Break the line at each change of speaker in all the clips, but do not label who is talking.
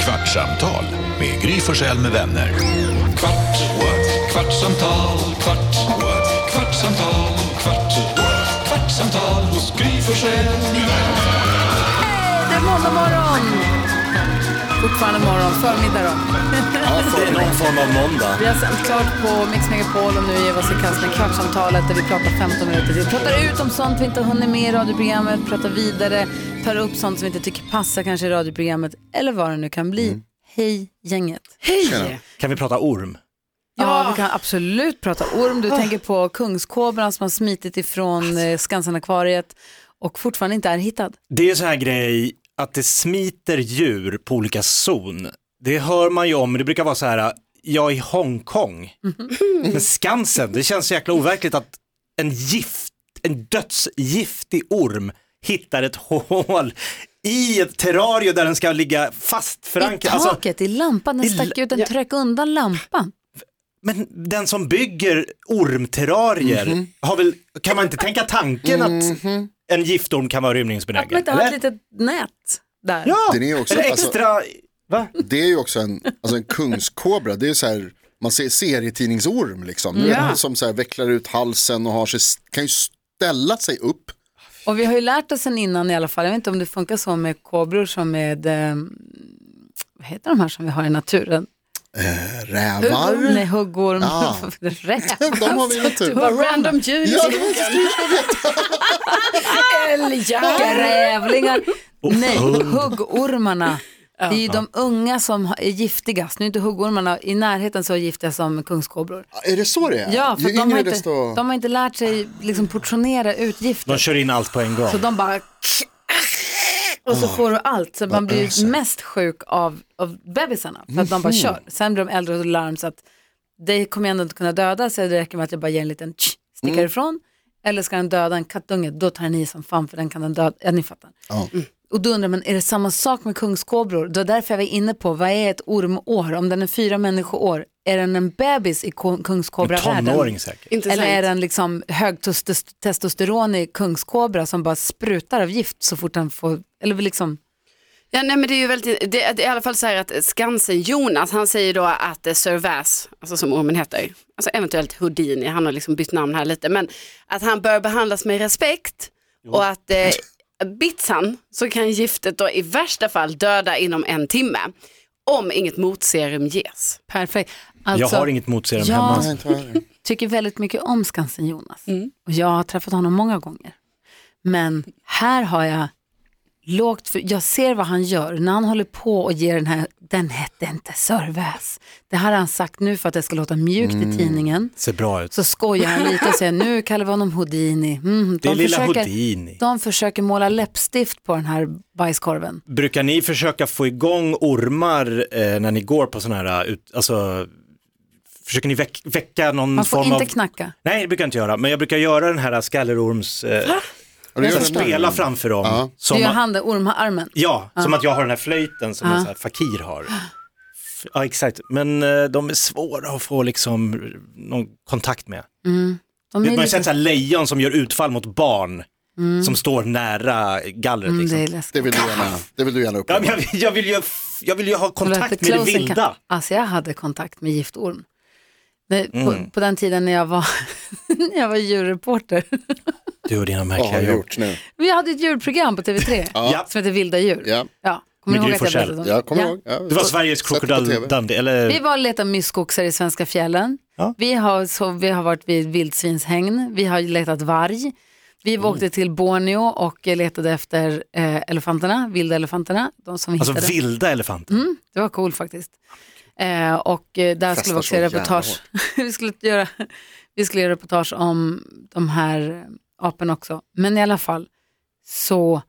Kvartsamtal med Gry Forssell med vänner. Kvart, what? kvartsamtal, kvart, what? kvartsamtal, kvart, what? kvartsamtal hos Gry Forssell med vänner.
Det är måndag morgon! Fortfarande morgon, förmiddag då.
Det är någon form av måndag.
Vi har sänt klart på Mix Megapol och nu ger vi oss i kast med Kvartsamtalet där vi pratar 15 minuter till. Pratar ut om sånt vi inte har hunnit med i radioprogrammet, pratar vidare, tar upp sånt som vi inte tycker passar kanske i radioprogrammet eller vad det nu kan bli.
Mm.
Hej gänget!
Kan vi prata orm?
Ja, Ah. vi kan absolut prata orm. Du tänker på kungskobran som har smitit ifrån eh, Skansen-akvariet och fortfarande inte är hittad.
Det är så här grej att det smiter djur på olika zon. Det hör man ju om, men det brukar vara så här, jag är i Hongkong.
Mhm.
Men Skansen, det känns så jäkla overkligt att en gift, en dödsgiftig orm hittar ett hål i ett terrarium där den ska ligga
I
fastförankrad. Alltså,
taket, i lampan, den
i la-
stack ut, den tryckte undan lampan.
men den som bygger ormterrarier,
Mhm.
har väl, kan man inte tänka tanken att en giftorm kan vara
Att
rymningsbenägen?
man inte har Mhm. ett
eller?
litet nät där.
Ja,
Den är också-
eller
alltså-
extra, va?
Det är ju också en, alltså en kungskobra, det är ju så här, man ser serietidningsorm liksom. Du
Mm. Ja.
Vet, som så här vecklar ut halsen och har sig, kan ju ställa sig upp.
Och vi har ju lärt oss sen innan i alla fall, jag vet inte om det funkar så med kobror som med, eh, vad heter de här som vi har i naturen? Huggorm, Mm. Nej,
Rävar.
huggorm,
Ja.
räv.
De har vi i
Alltså, Det
naturen.
var random djur,
Ja, det var så styrt jag vet.
grävlingar. Nej, huggormarna. Det är ju de unga som har- är giftigast. Nu är inte huggormarna i närheten så giftiga som kungskobror.
Är det så det är?
Ja, för
Ju
att de, har
yngre
inte,
desto...
de har inte lärt sig liksom portionera ut giftet.
De kör in allt på en gång.
Så de bara... Och så får du allt. Så man blir ju mest sjuk av, av bebisarna. För att de bara kör. Sen blir de äldre och då lär de sig att det kommer jag ändå inte kunna döda. Så det räcker med att jag bara ger en liten tsch, stickar ifrån. Eller ska den döda en kattunge, då tar den i som fan för den kan den döda. Ja, ni fattar.
Ja.
Och då undrar man, är det samma sak med kungskobror? Det var därför jag var inne på, vad är ett ormår? Om den är fyra människoår, är den en bebis i ko- kungskobravärlden?
Tonåring säkert.
Intressant.
Eller är den liksom högtestosteronig kungskobra som bara sprutar av gift så fort den får, eller liksom,
ja, nej, men det är ju väldigt, det, det är i alla fall så här att Skansen-Jonas, han säger då att eh, Sir Vass, alltså som ormen heter, alltså eventuellt Houdini, han har liksom bytt namn här lite, men att han bör behandlas med respekt och att eh, bits han så kan giftet då i värsta fall döda inom en timme. Om inget motserum ges.
perfekt. Alltså,
jag har inget motserum
Ja.
hemma.
Nej, inte vad är det?
tycker väldigt mycket om Skansen-Jonas och jag har träffat honom många gånger. Men här har jag lågt, för jag ser vad han gör när han håller på och ger den här, den hette inte Sörväs. Det här har han sagt nu för att det ska låta mjukt
Mm.
i tidningen.
Ser bra ut.
Så skojar han lite och säger nu kallar vi honom Houdini. Mm,
det är
de
lilla
försöker-
Houdini.
De försöker måla läppstift på den här bajskorven.
Brukar ni försöka få igång ormar eh, när ni går på sådana här, ut, alltså, försöker ni väck, väcka någon
Man får
form
inte
av...
knacka.
Nej, det brukar jag inte göra, men jag brukar göra den här skallerorms, eh,
Och det gör den där.
spela framför dem.
Ja.
Det
Som
gör
att,
han det, ormarmen.
ja, som att jag har den här flöjten som en sån här fakir har. F- Ja, exakt, men eh, de är svåra att få liksom någon kontakt med.
De
Man
är
har ju
lite...
sett så här lejon som gör utfall mot barn som står nära gallret.
Mm,
Liksom.
det är
Det
läskigt.
vill du gärna, det vill du gärna
Ah. ja, men
uppleva.
jag, vill- jag, vill ju, jag vill ju ha kontakt med det
Close encounter.
vilda.
Alltså jag hade kontakt med giftorm. Nej,
Mm.
på, på den tiden när jag var, när jag var djurreporter.
Du och dina
Vad har
märkliga
du
jobb.
gjort nu?
Vi hade ett djurprogram på TV3
Ja.
som heter Vilda djur.
Ja.
Kommer
Med
ni
Gry
ihåg att jag
Forssell.
berättade om det?
Jag kommer
Ja.
ihåg. Ja.
Det var Sveriges Ah.
Sett det på TV.
krokodildandi,
Vi
eller
var och letade myskoxar i svenska fjällen.
Ja.
Vi, har, så, vi har varit vid vildsvinshägn, vi har letat varg. Vi åkte till Borneo och eh, letade efter eh, elefanterna, vilda elefanterna. De som vi
alltså
hittade.
vilda elefanter.
Det var coolt faktiskt. Eh, och eh, där skulle vi också
så
göra
jävla
reportage. vi, skulle göra, vi skulle göra reportage om de här aporna också. Men i alla fall så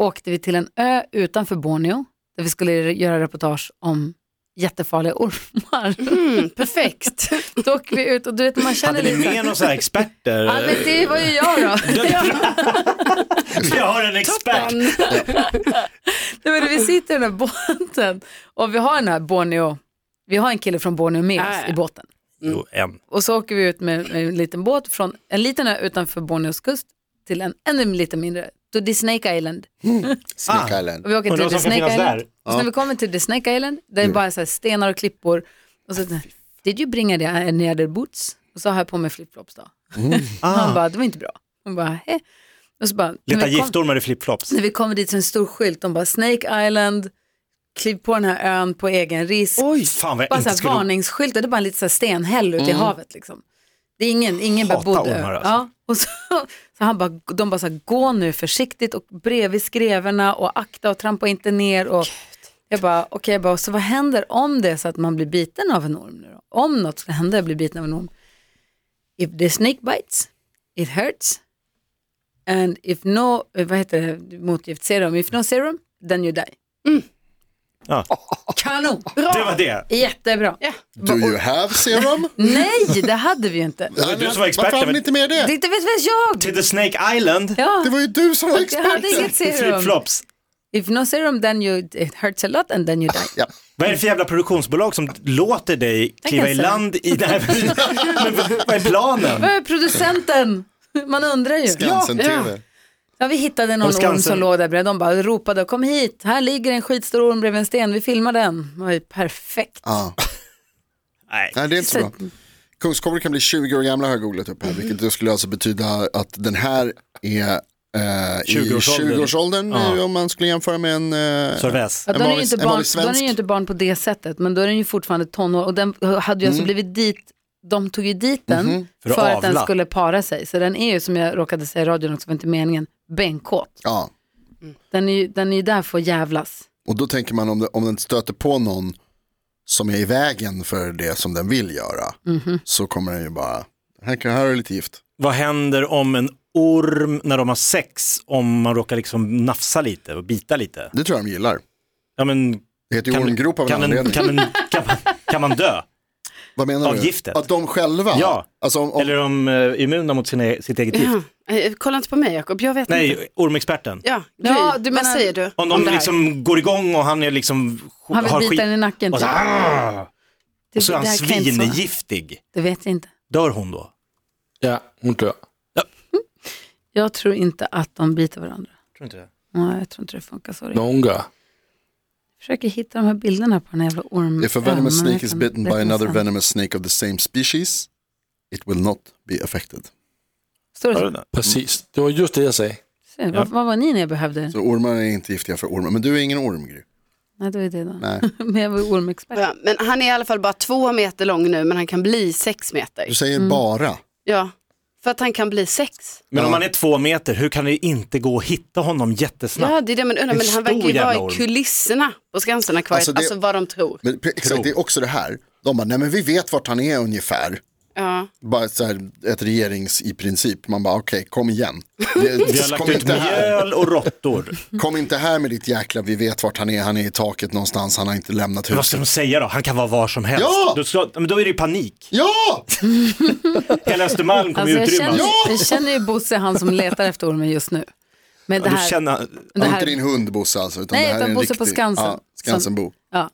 åkte vi till en ö utanför Borneo där vi skulle göra reportage om jättefarliga ormar.
Mm, perfekt.
Då åker vi ut och du vet man känner
Hade ni
lite... så här-
med någon sån här experter?
Ja, men det var ju jag då.
jag har en expert.
Det var det, vi sitter i den här båten och vi har den här Borneo, vi har en kille från Borneo med
Ja,
oss i
ja.
båten.
Jo, en.
Och så åker vi ut med med en liten båt från en liten ö utanför Borneos kust till en ännu lite mindre, då The Snake Island.
Snake Island.
Och vi åker
Undrar
till
vad
The
som kan
Snake
finnas
Island.
där. Mm.
Och så när vi kommer till The Snake Island, där är bara så här stenar och klippor. Och så, did you bring any any other boots? Och så har jag på mig flipflops då.
Mm.
Och han bara, det var inte bra. Hon bara, hej. Och så bara, när
Ah. Leta
vi kom-
giftormar i flipflops.
när vi kommer dit så är det en stor skylt, de bara Snake Island, kliv på den här ön på egen risk.
Oj, fan vad jag
bara
inte
så här,
skulle...
varningsskyltar, det är bara en liten så här stenhäll ute i havet liksom. Det är ingen, ingen
Hata
bebodd ö.
ormar, alltså.
ja. och så, så han bara, de bara så här, gå nu försiktigt och bredvid skrevorna och akta och trampa inte ner. Och jag bara, okej, jag bara, så vad händer om det är så att man blir biten av en orm nu då? Om något skulle hända, jag blir biten av en orm. If the snake bites, it hurts. And if no, eh, vad heter det, motgift serum, if no serum, then you die.
Ja.
Kanon,
Mm. Det var det.
jättebra.
Do you have serum?
Nej, det hade vi ju inte.
Det var du som var
Varför
experten.
hann ni inte med det?
Det inte vet väl jag.
Till The Snake Island.
Det
Ja,
var ju du som var
jag hade
experten.
inget serum.
Flipflops.
If no serum then you, it hurts a lot and then you die.
Ja.
Vad är det för jävla produktionsbolag som låter dig kliva i
säga.
land i det här? Men vad- vad är planen?
Vad är producenten? Man undrar ju.
Skansen
Ja.
TV.
Ja, vi hittade någon
Och Skansen.
orm som låg där bredvid. De bara ropade, kom hit, här ligger en skitstor orm bredvid en sten, vi filmar den. Det var ju perfekt.
Ja.
Nej.
Nej, det är inte så bra. Kungskobrar kan bli 20 år gamla har jag googlat upp här, vilket då skulle alltså betyda att den här är eh, i
20-årsåldern.
20-årsåldern eh, om man skulle jämföra med en... Eh,
Sörväs.
Ja, då,
En
är den ju
vanlig-
inte
en
barn,
vanlig
då är den ju
svensk.
inte barn på det sättet, men då är den ju fortfarande tonår. Och den hade ju
Mm.
alltså blivit dit, de tog ju dit den
Mhm.
För
för,
att
att den
avla.
skulle para sig. Så den är ju, som jag råkade säga i radion också, var inte meningen, benkåt.
ja.
Den är ju den är ju där för att jävlas.
Och då tänker man om, det, om den stöter på någon som är i vägen för det som den vill göra, så kommer den ju bara, här, kan- här är lite gift.
Vad händer om en orm när de har sex, om man råkar liksom nafsa lite och bita lite?
Det tror jag de gillar.
Ja, men
Det heter ju
kan,
ormgrop av en
kan, en,
anledning.
kan, en, kan, man, kan man dö?
Vad menar
av
du?
giftet.
Att de själva?
Ja.
Alltså, om, om,
Eller är de eh, immuna mot sin, e- sitt eget gift?
Ja. Eh, Kolla inte på mig Jakob, jag vet inte.
Nej, ormexperten.
Ja, Gry,
Ja, du
vad
menar-
säger du?
Om
om
de
det här?
liksom går igång och han är liksom
Han vill
har
bita
skit
den i nacken.
och så,
typ.
"Arr!"
Det-
och så är
det
han
här kan jag inte svara.
svingiftig.
Det vet jag inte.
Dör hon då?
Ja, hon dör.
Jag tror inte att de biter varandra.
Tror inte det.
Nej, jag tror inte det funkar. Sorry.
När hon gör.
Försöker hitta de här bilderna på den här jävla ormen.
If a venomous snake is bitten by another venomous snake of the same species, it will not be affected.
Står det
Hör
så?
du det?
Precis, det var just det jag sa.
Se, Vad, vad var ni när jag behövde er?
Så ormar är inte giftiga för ormar, men du är ingen ormgry.
Nej, det var ju det då.
Nej.
Men jag var ju ormexpert.
Ja, men han är i alla fall bara två meter lång nu, men han kan bli sex meter.
Du
Mm.
säger bara.
Ja, för att han kan bli sex.
Men om han är två meter, hur kan det inte gå att hitta honom jättesnabbt?
Ja, det är det man undrar,
En
men han verkar
stor
ju
jävla
vara
orm.
i kulisserna på Skansenakvariet,
Alltså,
alltså,
det-
vad de tror.
Men pre- exakt, det är också det här. De bara, nej men vi vet vart han är ungefär.
Ja.
Bara så här, ett regerings i princip. Man bara, okej, kom igen. Det-
Vi har lagt
kom,
ut
inte här.
mjöl och råttor.
kom inte här med ditt jäkla, vi vet vart han är, han är i taket någonstans, han har inte lämnat
Vad ska
huset.
de säga då? Han kan vara var som helst.
Ja!
Då, ska, men då är det ju panik.
Ja!
Hela Östermalm kommer
Alltså,
ju
jag,
utrymmas.
känner, jag känner ju Bosse, han som letar efter ormen just nu. Men det
Ja,
här,
då känner,
det
Inte
här
din hund Bosse alltså, utan
Nej,
det här
utan
är en
Bosse
riktig,
på Skansen.
Ja, Skansenbo.
ja.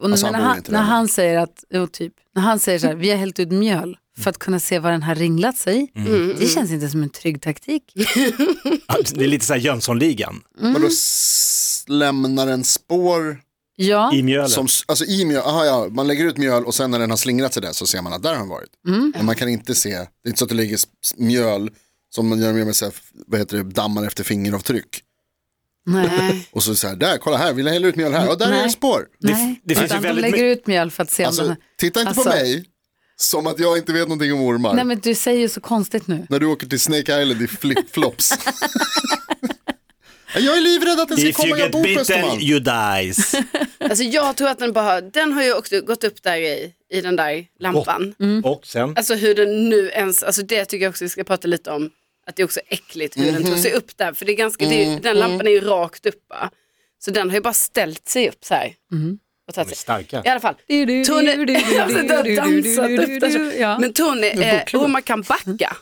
och
Alltså,
men
han
när,
bor
han,
inte där.
när han säger att, jo, typ, när han säger så här, vi har hällt ut mjöl för att kunna se var den här ringlat sig.
Mm.
Det känns inte som en trygg taktik.
det är lite så här Jönssonligan
Men då
Mm.
s- lämnar den spår
Ja,
i mjölet.
som, s- alltså i mjöl, aha, ja, man lägger ut mjöl och sen när den har slingrat sig där så ser man att där har den varit.
Mm.
Men man kan inte se, det är inte så att det ligger s- s- mjöl som man gör med så här, vad heter det, dammar efter fingeravtryck.
nej.
Och så så här, där, kolla här, vill jag hälla ut mjöl här? Och där är
Nej.
det spår.
nej.
det finns ju
Utan de
väldigt
lägger ut mjöl för att se om den
Alltså,
här.
titta inte på
Alltså-
mig som att jag inte vet någonting om ormar.
Nej men du säger ju så konstigt nu.
När du åker till Snake Island i flipflops. jag är livrädd att den ska
If you
komma, jag
get
bor på
bitten
Östermalm.
you dies.
Alltså jag tror att den bara, har- den har ju också gått upp där i, i den där lampan.
Och sen,
Alltså hur den nu ens, alltså det tycker jag också vi ska prata lite om, att det är också äckligt hur den tog sig upp där, för det är ganska, det är, ju- den lampan är ju rakt upp va? Så den har ju bara ställt sig upp så här. Och tagit sig.
starka.
I alla fall, Tony, alltså, den har dansat upp där så.
Ja.
Men Tony, eh, ormar kan backa.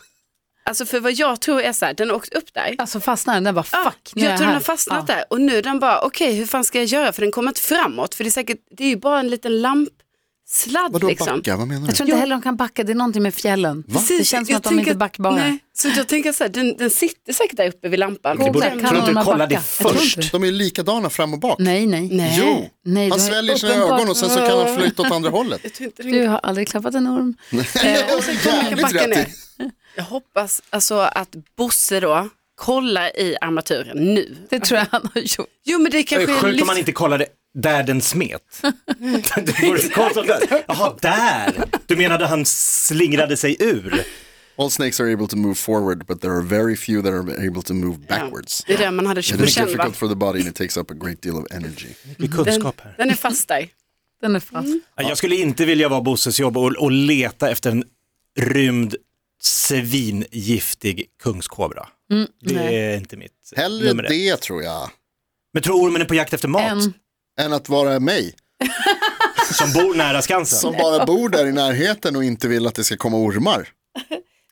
Alltså för vad jag tror är så här, den har åkt upp där.
Alltså fastnar den, den bara
Ja,
fuck, nu är
jag tror den har
här.
fastnat
Ja.
där och nu är den bara, okej hur fan ska jag göra för den kommer inte framåt för det är säkert, det är ju bara en liten lamp sladd
Vadå
liksom.
backa, vad menar du?
Jag tror inte heller de kan backa, det är någonting med fjällen. Det känns som
jag
att de
tänker
inte är backbara.
Nej, så jag tänker så här, den, den sitter säkert där uppe vid lampan.
Googla, kan
Sen-
Tror du inte
någon
du kollar
backa?
det
Jag tror inte
först?
De är ju likadana fram och bak.
Nej, nej.
Nej.
Jo,
Nej,
han
du har
sväljer sina
uppenbart-
ögon och sen så kan han flytta åt andra hållet.
Jag tror inte den-
Du har aldrig klappat en orm.
Eh, Och sen kommer jag
Jävligt
backa
rätt
ner.
i.
Jag hoppas alltså att Bosse då kollar i armaturen nu.
Det tror jag han har gjort.
Jo men det
Det är
kanske
sjukt om
lyft-
man inte kollade där den smet. Det vore konstigt där. Jaha, där! Du menade han slingrade sig ur?
All snakes are able to move forward but there are very few that are able to move backwards.
Det är det man hade
It is
25 va?
difficult for the body and it takes up a great deal of energy.
Mycket
Den,
kunskap här.
den är fast där.
Den är fast.
Ja, Jag skulle inte vilja vara Bosses jobb och, och leta efter en rymd svingiftig kungskobra.
Mm,
det är inte mitt
Hellre
nummer ett.
det tror jag,
Men tror ormen är på jakt efter mat
En.
än att vara mig.
som bor nära Skansen?
Som bara bor där i närheten och inte vill att det ska komma ormar.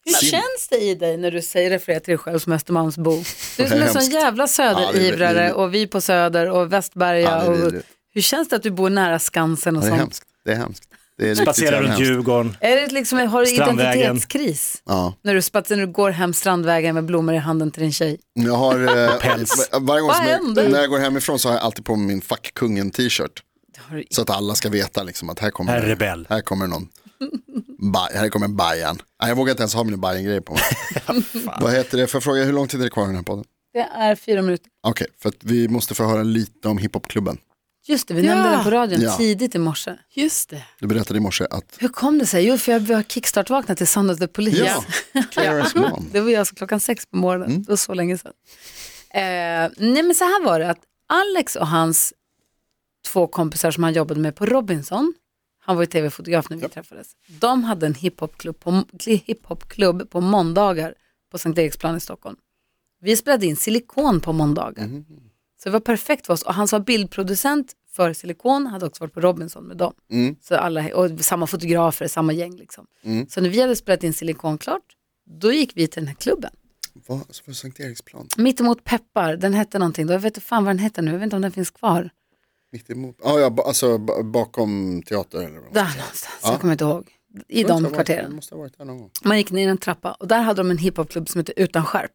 Hur känns det i dig när du säger refererar till dig själv som Östermalmsbo? Du är som en sån
Hemskt.
jävla
Ja, det
söderivrare
är-
och vi på Söder och Västberga.
Ja, det är
och,
vidrigt.
hur känns det att du bor nära Skansen och
Det är
sånt?
hemskt. Det är hemskt. Det är riktigt
Passerar
jävla
runt
hemskt.
Djurgården.
Är det liksom, har du
Strandvägen.
identitetskris?
Ja.
När du, spatsar, när du går hem Strandvägen med blommor i handen till din tjej?
Jag har, eh,
Päls.
var- varje gång
Vad
som
händer?
jag, när jag går hemifrån så har jag alltid på mig min fuck kungen t-shirt.
har du-
Så att alla ska veta liksom att här kommer,
Här är rebell.
här kommer någon. Ba, här kommer en Bajan. Nej, jag vågar inte ens ha mina Bajan-grejer på mig. Vad heter det? Får jag fråga hur lång tid är det kvar i den här podden?
Det är fyra minuter.
Okej, för att vi måste få höra lite om hiphopklubben.
Just det, vi nämnde
Ja.
den på radion
Ja.
tidigt i morse.
Just det.
Du berättade i morse att
Hur kom det sig? Jo, för jag var kickstart-vaknat till Sound of the Police.
ja, Claras mom.
Det var jag alltså klockan sex på morgonen, det var så länge sedan. Eh, nej men så här var det, att Alex och hans två kompisar som han jobbade med på Robinson, han var ju tv-fotograf när vi träffades, de hade en hiphopklubb på, hiphopklubb på måndagar på Sankt Eriksplan i Stockholm. Vi spelade in silikon på måndagar. Så det var perfekt för oss. Och han som var bildproducent för Silikon hade också varit på Robinson med dem. Så alla, och samma fotografer, samma gäng. Liksom. Så när vi hade spelat in Silikon klart, då gick vi till den här klubben.
Vad, så var det Sankt Eriksplan?
Mittemot Peppar, den hette någonting. Då, jag vet inte fan vad den hette nu, jag vet inte om den finns kvar.
Mitt emot? Ah, ja, ba, alltså ba, bakom teater eller vad?
Där någonstans, jag kommer inte ihåg. I
Jag tror
de
jag varit-
kvarteren.
jag Måste ha varit där någon gång.
Man gick ner en trappa och där hade de en hiphopklubb som hette Utan skärp.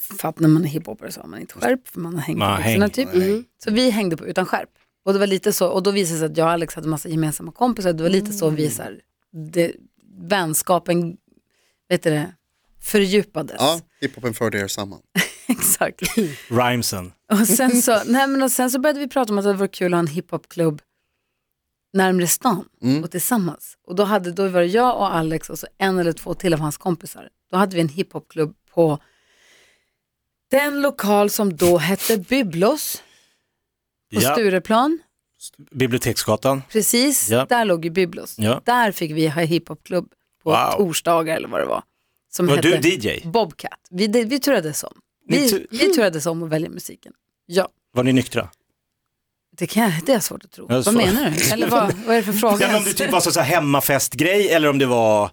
För att när man är hiphopare så har man inte skärp för man har hängt
Man har
på byxorna
hängt,
typ. Mm. Så vi hängde på Utan skärp. Och det var lite så, och då visade det sig att jag och Alex hade massa gemensamma kompisar. Det var lite så vi så här, det, vänskapen, vet du det, fördjupades.
Ja, hiphopen förde er samman.
Exakt.
Rhymesen.
Och sen, så, nej, men och sen så började vi prata om att det vore kul att ha en hiphopklubb närmre stan
Mm.
och tillsammans. Och då, hade, då var det jag och Alex och så en eller två till av hans kompisar. Då hade vi en hiphopklubb på den lokal som då hette Byblos på
Ja,
Stureplan.
Biblioteksgatan.
Precis,
Ja.
där låg ju Byblos.
Ja.
Där fick vi ha hiphopklubb på
Wow.
torsdagar eller vad det var. Som
Var
hette
du DJ?
Bobcat. Vi, det, vi turades om.
Ni
Vi,
tu-
vi turades om att välja musiken. Ja.
Var ni nyktra?
Det, kan, det är svårt att tro.
Ja,
Vad
svårt.
menar du? Eller vad, vad är det för fråga?
Ja, men om det typ var så så här hemmafestgrej eller om det var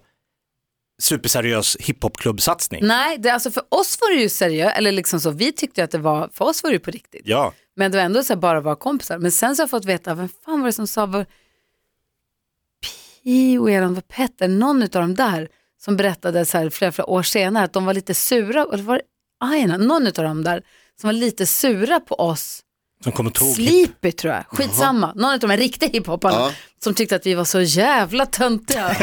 superseriös hiphopklubbsatsning.
Nej, det, alltså för oss var det ju seriöst, eller liksom så, vi tyckte ju att det var, för oss var det ju på riktigt.
Ja,
Men det var ändå så här, bara vara kompisar. Men sen så har jag fått veta, vem fan var det som sa, var Pio eller om det var Petter, någon av dem där som berättade så här flera, flera år senare att de var lite sura, eller var det Aina, någon av dem där som var lite sura på oss
som kom och tog.
Sleepy tror jag, skitsamma. Någon av de här riktiga hiphoparna
Ja.
som tyckte att vi var så jävla töntiga.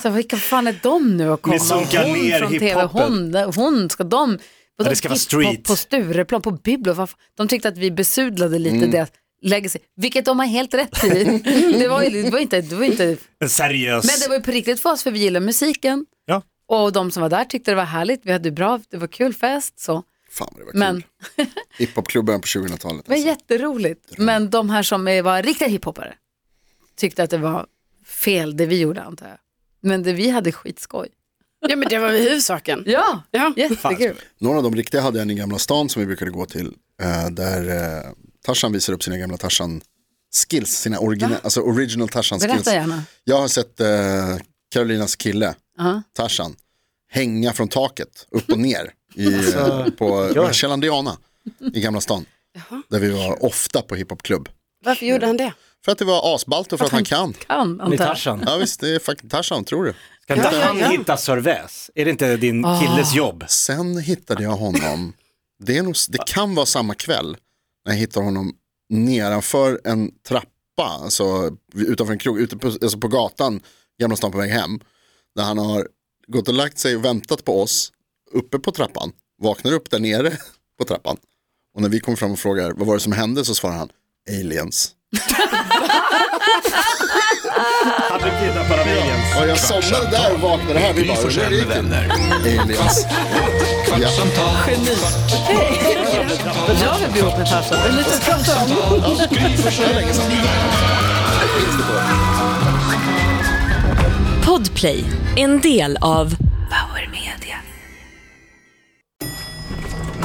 så vilka fan är de nu att komma?
Ni sunkar
hon
ner
från TV,
hiphopen.
hon, hon ska de. Vadå
det ska vara
hiphop
street.
På Stureplan, på Biblo. vad fan? De tyckte att vi besudlade lite
Mm.
deras legacy, vilket de har helt rätt i. det, var, ju- det, var inte, det var inte,
En seriös...
men det var ju på riktigt för oss för vi gillar musiken.
Ja.
Och de som var där tyckte det var härligt, vi hade bra, det var kul fest. Så.
Fan vad det var kul.
Men
Hiphopklubben på 2000-talet.
Det var
alltså.
jätteroligt. Men de här som är- var riktiga hiphopare tyckte att det var fel det vi gjorde antar jag. Men det vi hade skitskoj.
Ja men det var väl huvudsaken.
Ja,
Ja.
jättekul.
Några av de riktiga hade jag i Gamla stan som vi brukade gå till. eh, Där eh, Tarzan visar upp sina gamla Tarzan skills, sina origina, alltså original Tarzan skills.
Berätta gärna.
Jag har sett eh, Karolinas kille,
Ja.
Tarzan, hänga från taket upp och ner i, eh, på Källandiana i Gamla stan. Där vi var ofta på hiphopklubb.
Varför gjorde han det?
För att det var asballt och för att han kan.
Kan,
Han är
antar jag.
Tarzan.
Ja visst, det är fucking Tarzan, tror du.
Kan inte han hitta Sörväs? Är det inte din killes jobb?
Sen hittade jag honom, det, är nog, det kan vara samma kväll, när jag hittade honom nedanför en trappa, alltså utanför en krog, ute på, alltså på gatan, Gamla stan på väg hem, där han har gått och lagt sig och väntat på oss uppe på trappan, vaknar upp där nere på trappan. Och när vi kommer fram och frågar vad var det som hände så svarar han aliens.
Han blir kidnappad av aliens.
Och jag somnade där och vaknade här. Vi
Gry
bara, "Hur är
Forssell med
det gick
vänner.
det?" aliens.
Kvartsamtal, kvart,
Jag vill bli ihop med Tarzan. Det är lite att prata om.
Gry Forssell med vänner.
Podplay, en del av